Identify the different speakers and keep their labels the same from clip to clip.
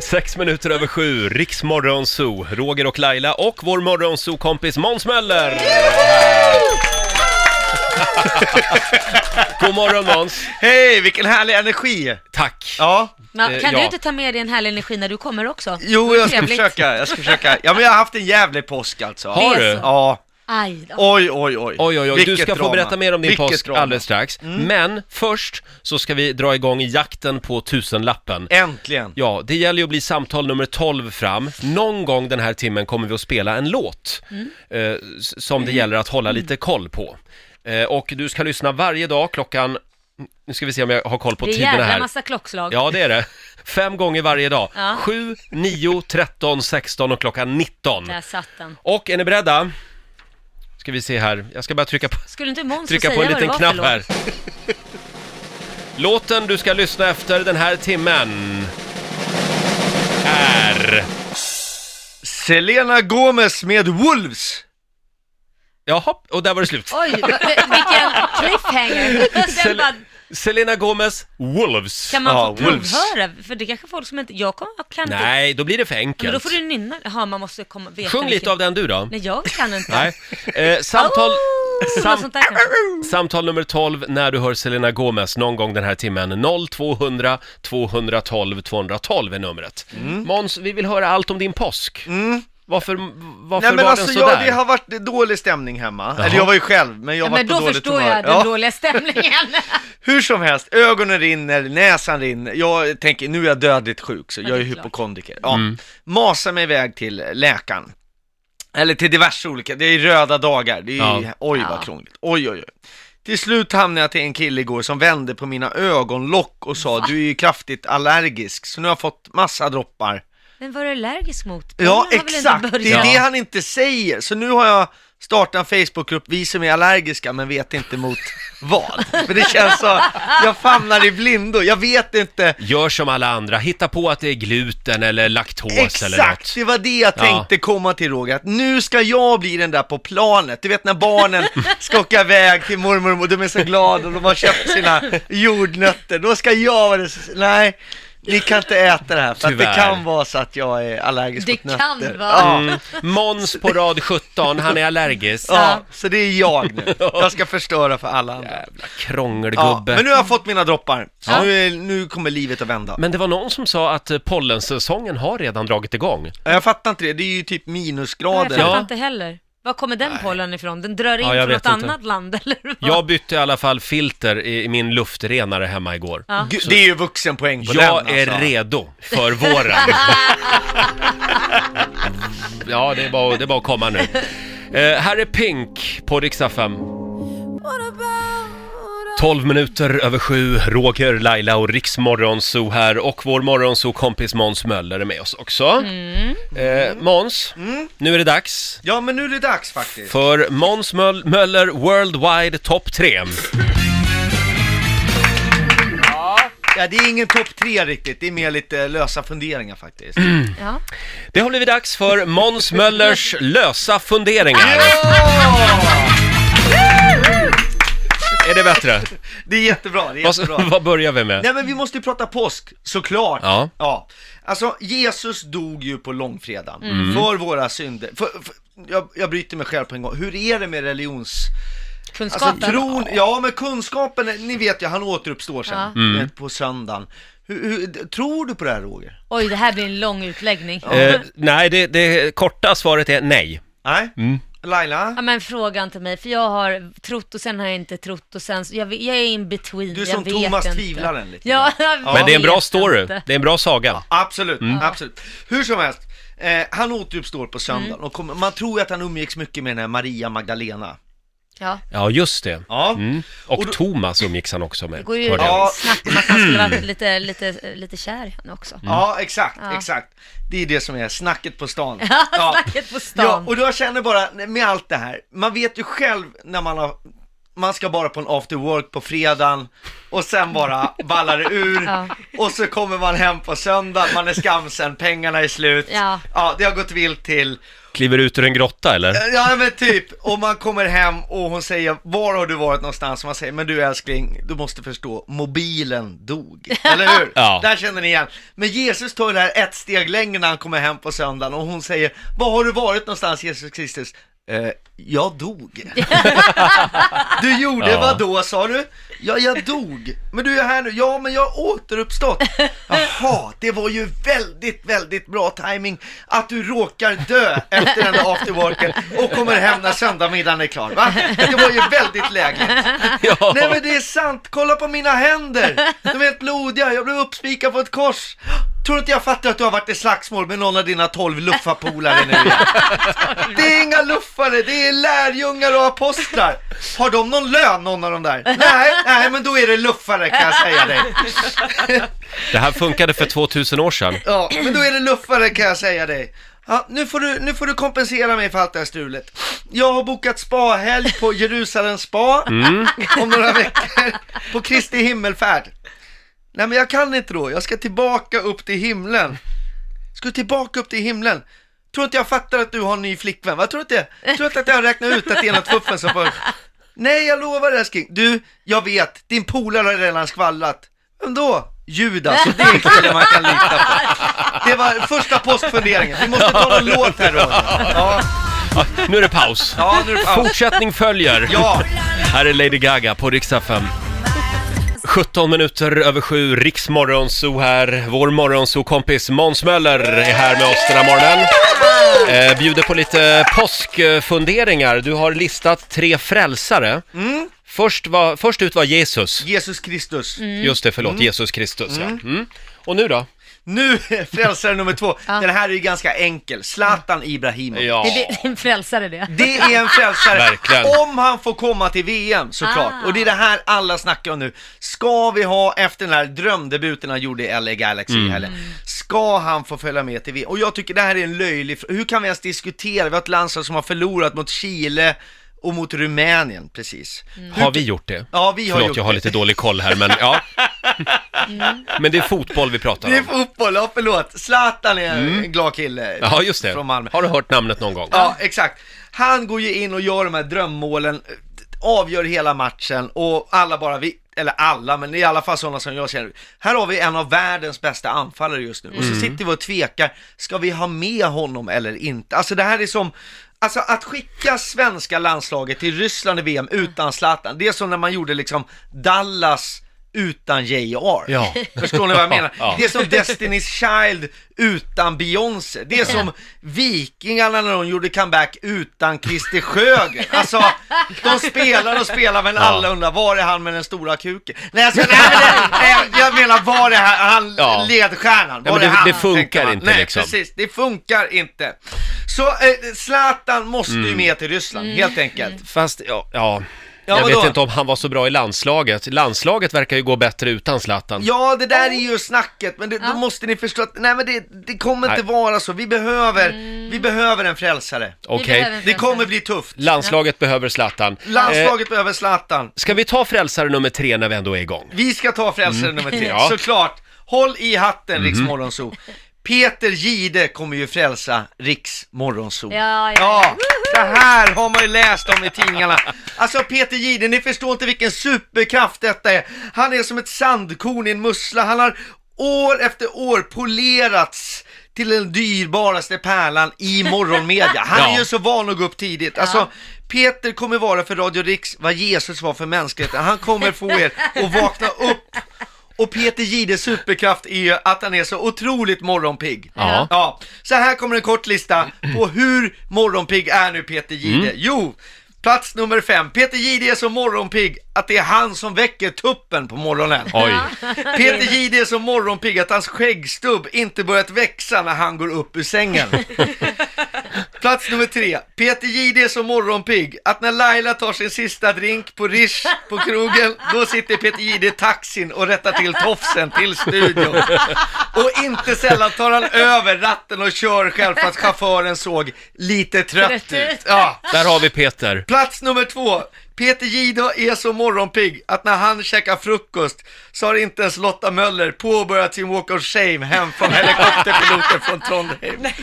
Speaker 1: Sex minuter över sju, Riksmorgon Zoo, Roger och Laila och vår morgonzoo-kompis Måns Möller! God morgon Måns!
Speaker 2: Hej, vilken härlig energi!
Speaker 1: Tack!
Speaker 2: Ja,
Speaker 3: Men,
Speaker 1: Eh,
Speaker 3: kan
Speaker 1: ja.
Speaker 3: du inte ta med dig en härlig energi när du kommer också?
Speaker 2: jo
Speaker 3: Det är
Speaker 2: jag ska
Speaker 3: trevligt.
Speaker 2: försöka, jag ska försöka. Ja men jag har haft en jävlig påsk alltså.
Speaker 1: Har
Speaker 3: Det är
Speaker 1: du?
Speaker 3: så.
Speaker 2: Ja,
Speaker 3: Aj då.
Speaker 2: oj oj oj.
Speaker 1: Oj, oj, oj, du
Speaker 2: Vilket
Speaker 1: ska få
Speaker 2: drama.
Speaker 1: berätta mer om din
Speaker 2: Vilket
Speaker 1: påsk
Speaker 2: drama. Mm.
Speaker 1: alldeles strax. Men först så ska vi dra igång jakten på tusenlappen.
Speaker 2: Äntligen.
Speaker 1: Ja, det gäller ju att bli samtal nummer 12 fram. Någon gång den här timmen kommer vi att spela en låt
Speaker 3: Mm.
Speaker 1: eh, s- som det gäller att hålla lite koll på. Eh, och du ska lyssna varje dag klockan, nu ska vi se om jag har koll på
Speaker 3: det är
Speaker 1: tiderna
Speaker 3: jävla
Speaker 1: här.
Speaker 3: massa klockslag.
Speaker 1: Ja, det är det. Fem gånger varje dag.
Speaker 3: Ja.
Speaker 1: 7, 9, 13, 16 och klockan 19.
Speaker 3: Där satt den.
Speaker 1: Och är ni beredda? Ska vi se här, jag ska bara trycka på,
Speaker 3: Skulle inte Måns få
Speaker 1: trycka
Speaker 3: säga
Speaker 1: på en liten
Speaker 3: vad det var
Speaker 1: knapp
Speaker 3: för
Speaker 1: här.
Speaker 3: låt?
Speaker 1: Låten du ska lyssna efter den här timmen är...
Speaker 2: Selena Gomez med Wolves.
Speaker 1: Jaha, och där var det slut.
Speaker 3: Oj, vad- vilken cliffhanger. Den
Speaker 1: Sel-
Speaker 3: bara,
Speaker 1: Selena Gomez, Wolves.
Speaker 3: kan man
Speaker 2: Ja,
Speaker 3: få
Speaker 2: Wolves.
Speaker 3: provhöra? För det är kanske folk som inte... Jag kommer, jag kan inte.
Speaker 1: Nej, då blir det för
Speaker 3: Men då
Speaker 1: enkelt.
Speaker 3: får du nynna. Jaha, man måste komma, veta
Speaker 1: Sjung lite
Speaker 3: vilken-
Speaker 1: av den du då.
Speaker 3: Nej, jag kan inte.
Speaker 1: Nej. Eh, samtal...
Speaker 3: Oh,
Speaker 1: Sam-
Speaker 3: sånt där kanske.
Speaker 1: Samtal nummer 12 när du hör Selena Gomez någon gång den här timmen. 0200 212 212 är numret.
Speaker 2: Mm.
Speaker 1: Måns, vi vill höra allt om din påsk. Varför, varför
Speaker 2: Nej men
Speaker 1: var
Speaker 2: alltså
Speaker 1: den sådär?
Speaker 2: jag, det har varit dålig stämning hemma. Eller jag var ju själv, men jag
Speaker 3: Ja,
Speaker 2: var
Speaker 3: men
Speaker 2: på
Speaker 3: då
Speaker 2: dåligt
Speaker 3: förstår
Speaker 2: humör.
Speaker 3: jag den
Speaker 2: Ja.
Speaker 3: dåliga stämningen.
Speaker 2: Hur som helst, ögonen rinner, näsan rinner, jag tänker nu är jag dödligt sjuk så
Speaker 3: Ja,
Speaker 2: jag är
Speaker 3: det är klart.
Speaker 2: hypokondriker. Ja. Masa mig iväg till läkaren. Eller till diverse olika, det är röda dagar, det är,
Speaker 1: Ja.
Speaker 2: oj
Speaker 3: Ja.
Speaker 2: vad krångligt, oj oj oj. Till slut hamnade jag till en kille igår som vände på mina ögonlock och sa du är ju kraftigt allergisk så nu har jag fått massa droppar.
Speaker 3: Men var du allergisk mot?
Speaker 2: Ja
Speaker 3: Pengarna har väl inte
Speaker 2: exakt, det är
Speaker 3: börjat?
Speaker 2: det han inte säger. Så nu har jag startat en Facebookgrupp, vi som är allergiska men vet inte mot vad. För det känns så, jag famnar i blindo, jag vet inte.
Speaker 1: Gör som alla andra, hitta på att det är gluten eller laktos eller något.
Speaker 2: Exakt, det var det jag
Speaker 1: Ja.
Speaker 2: tänkte komma till Roger, att nu ska jag bli den där på planet. Du vet när barnen ska åka iväg till mormor och de är så glada och de har köpt sina jordnötter, då ska jag vara den som- nej. Ni kan inte äta det här för att det
Speaker 1: Tyvärr.
Speaker 2: kan vara så att jag är allergisk
Speaker 3: Det
Speaker 2: mot
Speaker 3: kan
Speaker 2: nötter.
Speaker 3: vara.
Speaker 2: Ja.
Speaker 1: Mm. Måns på rad 17, han är allergisk.
Speaker 2: Ja, så det är jag nu. Jag ska förstöra för alla andra.
Speaker 1: Jävla
Speaker 2: Ja,
Speaker 1: krångelgubbe.
Speaker 2: men nu har jag fått mina droppar, så
Speaker 3: Ja.
Speaker 2: nu, är, nu kommer livet att vända.
Speaker 1: Men det var någon som sa att eh, pollensäsongen har redan dragit igång.
Speaker 2: Ja, Jag fattar inte det, det är ju typ
Speaker 3: Jag
Speaker 2: minusgrader.
Speaker 3: fattar
Speaker 1: Ja.
Speaker 3: inte heller. Var kommer den pollen ifrån? Den drar in
Speaker 1: Ja, jag
Speaker 3: från
Speaker 1: vet
Speaker 3: något
Speaker 1: inte.
Speaker 3: annat land, eller? vad?
Speaker 1: Jag bytte i alla fall filter i i min luftrenare hemma igår.
Speaker 3: Ja.
Speaker 2: Gud, Det är ju vuxenpoäng på den
Speaker 1: Jag
Speaker 2: alltså.
Speaker 1: är redo för våren. ja, det är bara, det är bara att komma nu. Eh, här är Pink på riksdag 5. 12 minuter över sju, Roger, Laila och Riksmorgonzoo här och vår morgonzoo-kompis Måns Möller är med oss också. Eh, Måns, nu är det dags
Speaker 2: Ja, men nu är det dags faktiskt.
Speaker 1: för Måns Möll- Möller Worldwide Top 3.
Speaker 2: Ja, det är ingen topp tre riktigt, det är mer lite lösa funderingar faktiskt.
Speaker 1: Mm.
Speaker 3: Ja.
Speaker 1: Det har blivit dags för Måns Möllers lösa funderingar. Är det bättre?
Speaker 2: Det är jättebra, det är jättebra.
Speaker 1: Vad, vad börjar vi med?
Speaker 2: Nej men vi måste ju prata påsk, såklart!
Speaker 1: Ja.
Speaker 2: Alltså, Jesus dog ju på långfredagen,
Speaker 1: Mm.
Speaker 2: för våra synder. För, för, jag, jag bryter mig själv på en gång, hur är det med religions... Alltså
Speaker 3: Kunskapen.
Speaker 2: tron, ja men kunskapen, ni vet ju, han återuppstår sen,
Speaker 3: Mm.
Speaker 2: eh, på söndagen. Hur, hur, tror du på det här Roger?
Speaker 3: Oj, det här blir en lång utläggning.
Speaker 1: Eh, nej, det, det korta svaret är nej.
Speaker 2: Nej? Laila?
Speaker 3: Ja, men fråga inte mig, för jag har trott och sen har jag inte trott och sen, så jag, vet- jag är in between,
Speaker 2: Du är
Speaker 3: jag
Speaker 2: som
Speaker 3: vet
Speaker 2: Thomas
Speaker 3: inte.
Speaker 2: tvivlaren lite
Speaker 3: Ja, jag
Speaker 1: Men det är en bra
Speaker 3: vet
Speaker 1: story,
Speaker 3: inte.
Speaker 1: det är en bra saga.
Speaker 2: Absolut, absolut. Hur som helst, eh, han återuppstår på söndagen och kommer, man tror ju att han umgicks mycket med den här Maria Magdalena.
Speaker 3: Ja,
Speaker 1: Ja, just det.
Speaker 2: Ja.
Speaker 1: Mm. Och,
Speaker 2: Och då-
Speaker 1: Thomas umgicks han också
Speaker 3: det
Speaker 1: med,
Speaker 3: går ju
Speaker 1: hörde jag.
Speaker 2: Ja.
Speaker 3: snack om att han skulle varit lite, lite, lite kär i henne också.
Speaker 1: Mm.
Speaker 2: Ja, exakt,
Speaker 3: Ja.
Speaker 2: exakt. Det är det som är snacket på stan.
Speaker 3: Ja, snacket på stan.
Speaker 2: Ja, och jag känner bara, med allt det här, man vet ju själv när man har man ska bara på en after work på fredagen och sen bara ballar det ur
Speaker 3: Ja.
Speaker 2: och så kommer man hem på söndag, man är skamsen, pengarna är slut.
Speaker 3: Ja.
Speaker 2: ja, det har gått vilt till.
Speaker 1: Kliver ut ur en grotta eller?
Speaker 2: Ja men typ, och man kommer hem och hon säger Var har du varit någonstans? Och man säger Men du älskling, du måste förstå, mobilen dog Eller hur?
Speaker 1: Ja.
Speaker 2: Där känner ni igen Men Jesus tar det här ett steg längre när han kommer hem på söndagen Och hon säger Var har du varit någonstans Jesus Kristus? Eh, jag dog Du gjorde
Speaker 1: Ja.
Speaker 2: vad då sa du? Ja, jag dog Men du är här nu, ja men jag har återuppstått Jaha, det var ju väldigt, väldigt bra timing att du råkar dö efter den där afterworken och kommer hem när söndagmiddagen är klar va? Det var ju väldigt lägligt
Speaker 1: Ja.
Speaker 2: Nej men det är sant, kolla på mina händer! De är helt blodiga, jag blev uppspikad på ett kors! Tror du inte jag fattar att du har varit i slagsmål med någon av dina tolv luffarpolare nu igen? Det är inga luffare, det är lärjungar och apostlar! Har de någon lön, någon av de där? Nej, nej men då är det luffare kan jag säga dig.
Speaker 1: Det här funkade för 2000 år sedan.
Speaker 2: Ja, men då är det luffare kan jag säga dig. Ja, nu, får du, nu får du kompensera mig för allt det här strulet. Jag har bokat spahelg på Jerusalem spa om några veckor på Kristi himmelfärd. Nej men jag kan inte då, jag ska tillbaka upp till himlen. Ska du tillbaka upp till himlen? Tror inte jag fattar att du har en ny flickvän? Vad tror du inte? Tror inte att jag har räknat ut att det är något fuffen som får... Nej, jag lovar älskling. Du, jag vet, din polare har redan skvallrat. Vem då? Judas, och det är en kille man kan lita på. Det var första påskfunderingen. Vi måste ta någon låt här då. Ja,
Speaker 1: Ja, nu är det paus.
Speaker 2: ja nu är det paus.
Speaker 1: Fortsättning följer.
Speaker 2: Ja,
Speaker 1: Här är Lady Gaga på riksdag 5. 17 minuter över sju, Riksmorgonzoo här. Vår morgonzoo-kompis Måns Möller är här med oss den här morgonen. Eh, bjuder på lite påskfunderingar. Du har listat tre frälsare.
Speaker 2: Mm.
Speaker 1: Först, var, först ut var Jesus.
Speaker 2: Jesus Kristus.
Speaker 1: Just det,
Speaker 2: Mm.
Speaker 1: förlåt, Jesus Kristus ja. Mm. Och nu då?
Speaker 2: Nu frälsare nummer två. Den här är ju ganska enkel. Zlatan Ibrahimovic.
Speaker 1: Ja.
Speaker 3: Det, det, det är en frälsare det.
Speaker 2: Det är en frälsare,
Speaker 1: Verkligen.
Speaker 2: om han får komma till VM såklart.
Speaker 3: Ah.
Speaker 2: Och det är det här alla snackar om nu. Ska vi ha, efter den här drömdebuten han gjorde i LA Galaxy
Speaker 1: Mm.
Speaker 2: i helgen, ska han få följa med till VM? Och jag tycker det här är en löjlig fr- Hur kan vi ens diskutera? Vi har ett landslag som har förlorat mot Chile och mot Rumänien precis.
Speaker 1: Har vi gjort det?
Speaker 2: Ja, vi har
Speaker 1: Förlåt,
Speaker 2: gjort
Speaker 1: jag har
Speaker 2: det. Mm.
Speaker 1: lite dålig koll här, men ja. Men det är fotboll vi pratar
Speaker 2: Det är
Speaker 1: om.
Speaker 2: fotboll, ja förlåt. Zlatan är en glad kille
Speaker 1: Mm. Ja, just det.
Speaker 2: från Malmö.
Speaker 1: Har du hört namnet någon gång?
Speaker 2: Ja, exakt. Han går ju in och gör de här drömmålen, avgör hela matchen och alla bara, vi, eller alla, men i alla fall sådana som jag känner. Här har vi en av världens bästa anfallare just nu och
Speaker 1: Mm.
Speaker 2: så sitter vi och tvekar, ska vi ha med honom eller inte? Alltså det här är som, Alltså att skicka svenska landslaget till Ryssland i VM utan Zlatan, det är som när man gjorde liksom Dallas utan J.R.
Speaker 1: Ja.
Speaker 2: Förstår ni vad jag menar?
Speaker 1: Ja.
Speaker 2: Det är som Destiny's Child utan Beyoncé. Det är som Vikingarna när de gjorde comeback utan Christer Sjögren. Alltså, de spelar och spelar men alla undrar var är han med den stora kuken? Nej, alltså, nej, men det, nej jag menar var är han, han
Speaker 1: Ja.
Speaker 2: ledstjärnan? Var
Speaker 1: men det-
Speaker 2: är han?
Speaker 1: det funkar
Speaker 2: tänker man.
Speaker 1: inte,
Speaker 2: nej,
Speaker 1: liksom.
Speaker 2: precis, det funkar inte. Så eh, Zlatan måste ju med till Ryssland, helt enkelt.
Speaker 1: Mm. Fast, ja, ja.
Speaker 2: Ja,
Speaker 1: jag
Speaker 2: vadå?
Speaker 1: vet inte om han var så bra i landslaget. Landslaget verkar ju gå bättre utan Zlatan.
Speaker 2: Ja, det där är ju snacket, men det,
Speaker 3: Ja.
Speaker 2: då måste ni förstå att nej men det, det kommer inte
Speaker 1: Nej.
Speaker 2: vara så. Vi behöver,
Speaker 3: Mm.
Speaker 2: vi behöver en frälsare.
Speaker 1: Okej.
Speaker 3: behöver-
Speaker 2: Det kommer bli tufft.
Speaker 1: Landslaget behöver Zlatan. Eh,
Speaker 2: Landslaget behöver Zlatan.
Speaker 1: ska vi ta frälsare nummer tre när vi ändå är igång?
Speaker 2: Vi ska ta frälsare nummer tre,
Speaker 1: Mm. Ja. Mhm.
Speaker 2: såklart. Håll i hatten Riks Morgonzoo. Peter Gide kommer ju frälsa Riks Morgonzoo.
Speaker 3: Ja, ja,
Speaker 2: Ja,
Speaker 3: ja.
Speaker 2: det här har man ju läst om i tidningarna. Alltså Peter Gide, ni förstår inte vilken superkraft detta är. Han är som ett sandkorn i en mussla. Han har år efter år polerats till den dyrbaraste pärlan i morgonmedia. Han
Speaker 1: Ja.
Speaker 2: är ju så van att gå upp tidigt. Alltså, Peter kommer vara för Radio Rix vad Jesus var för mänskligheten. Han kommer få er att vakna upp. Och Peter Gides superkraft är ju att han är så otroligt morgonpigg.
Speaker 1: Ja.
Speaker 2: Ja, så här kommer en kort lista på hur morgonpigg är nu Peter Gide. Jo, plats nummer fem. Peter Gide är så morgonpigg att det är han som väcker tuppen på morgonen.
Speaker 1: Oj.
Speaker 2: Peter Gide är så morgonpigg att hans skäggstubb inte börjat växa när han går upp ur sängen. Plats nummer tre. Peter Gide är så morgonpigg att när Laila tar sin sista drink på Rish på krogen, då sitter Peter Gide i taxin och rättar till tofsen till studion. Och inte sällan tar han över ratten och kör själv för att chauffören såg lite trött ut. Ja.
Speaker 1: Där har vi Peter.
Speaker 2: Plats nummer två. Peter Jihde är så morgonpigg att när han käkar frukost så har inte ens Lotta Möller påbörjat sin walk of shame hem från helikopterpiloten från Trondheim.
Speaker 4: Nej.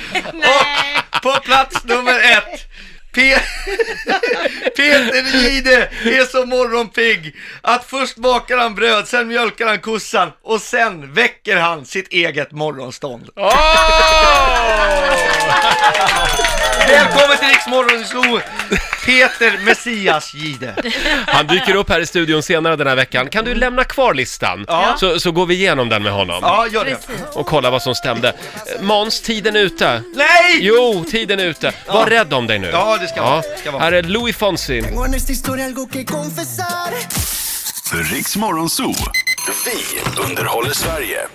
Speaker 2: Och på plats nummer ett Pe- Peter Jihde är så morgonpigg att först bakar han bröd, sen mjölkar han kossan och sen väcker han sitt eget morgonstånd. Välkommen till Riks Morgonzoo, Peter Messias Jihde.
Speaker 1: Han dyker upp här i studion senare den här veckan. Kan du lämna kvar listan?
Speaker 2: Ja.
Speaker 1: Så, så går vi igenom den med honom
Speaker 2: Ja, gör det.
Speaker 3: Precis.
Speaker 1: och kollar vad som stämde. Eh, Måns, tiden är ute.
Speaker 2: Nej!
Speaker 1: Jo, tiden är ute. Var rädd om dig nu.
Speaker 2: Ja, det ska vara. Det ska vara.
Speaker 1: Här är Louis Fonsi.
Speaker 5: Tengo en esta historia algo que confesar.
Speaker 6: Riks Morgonzoo. Vi underhåller Sverige.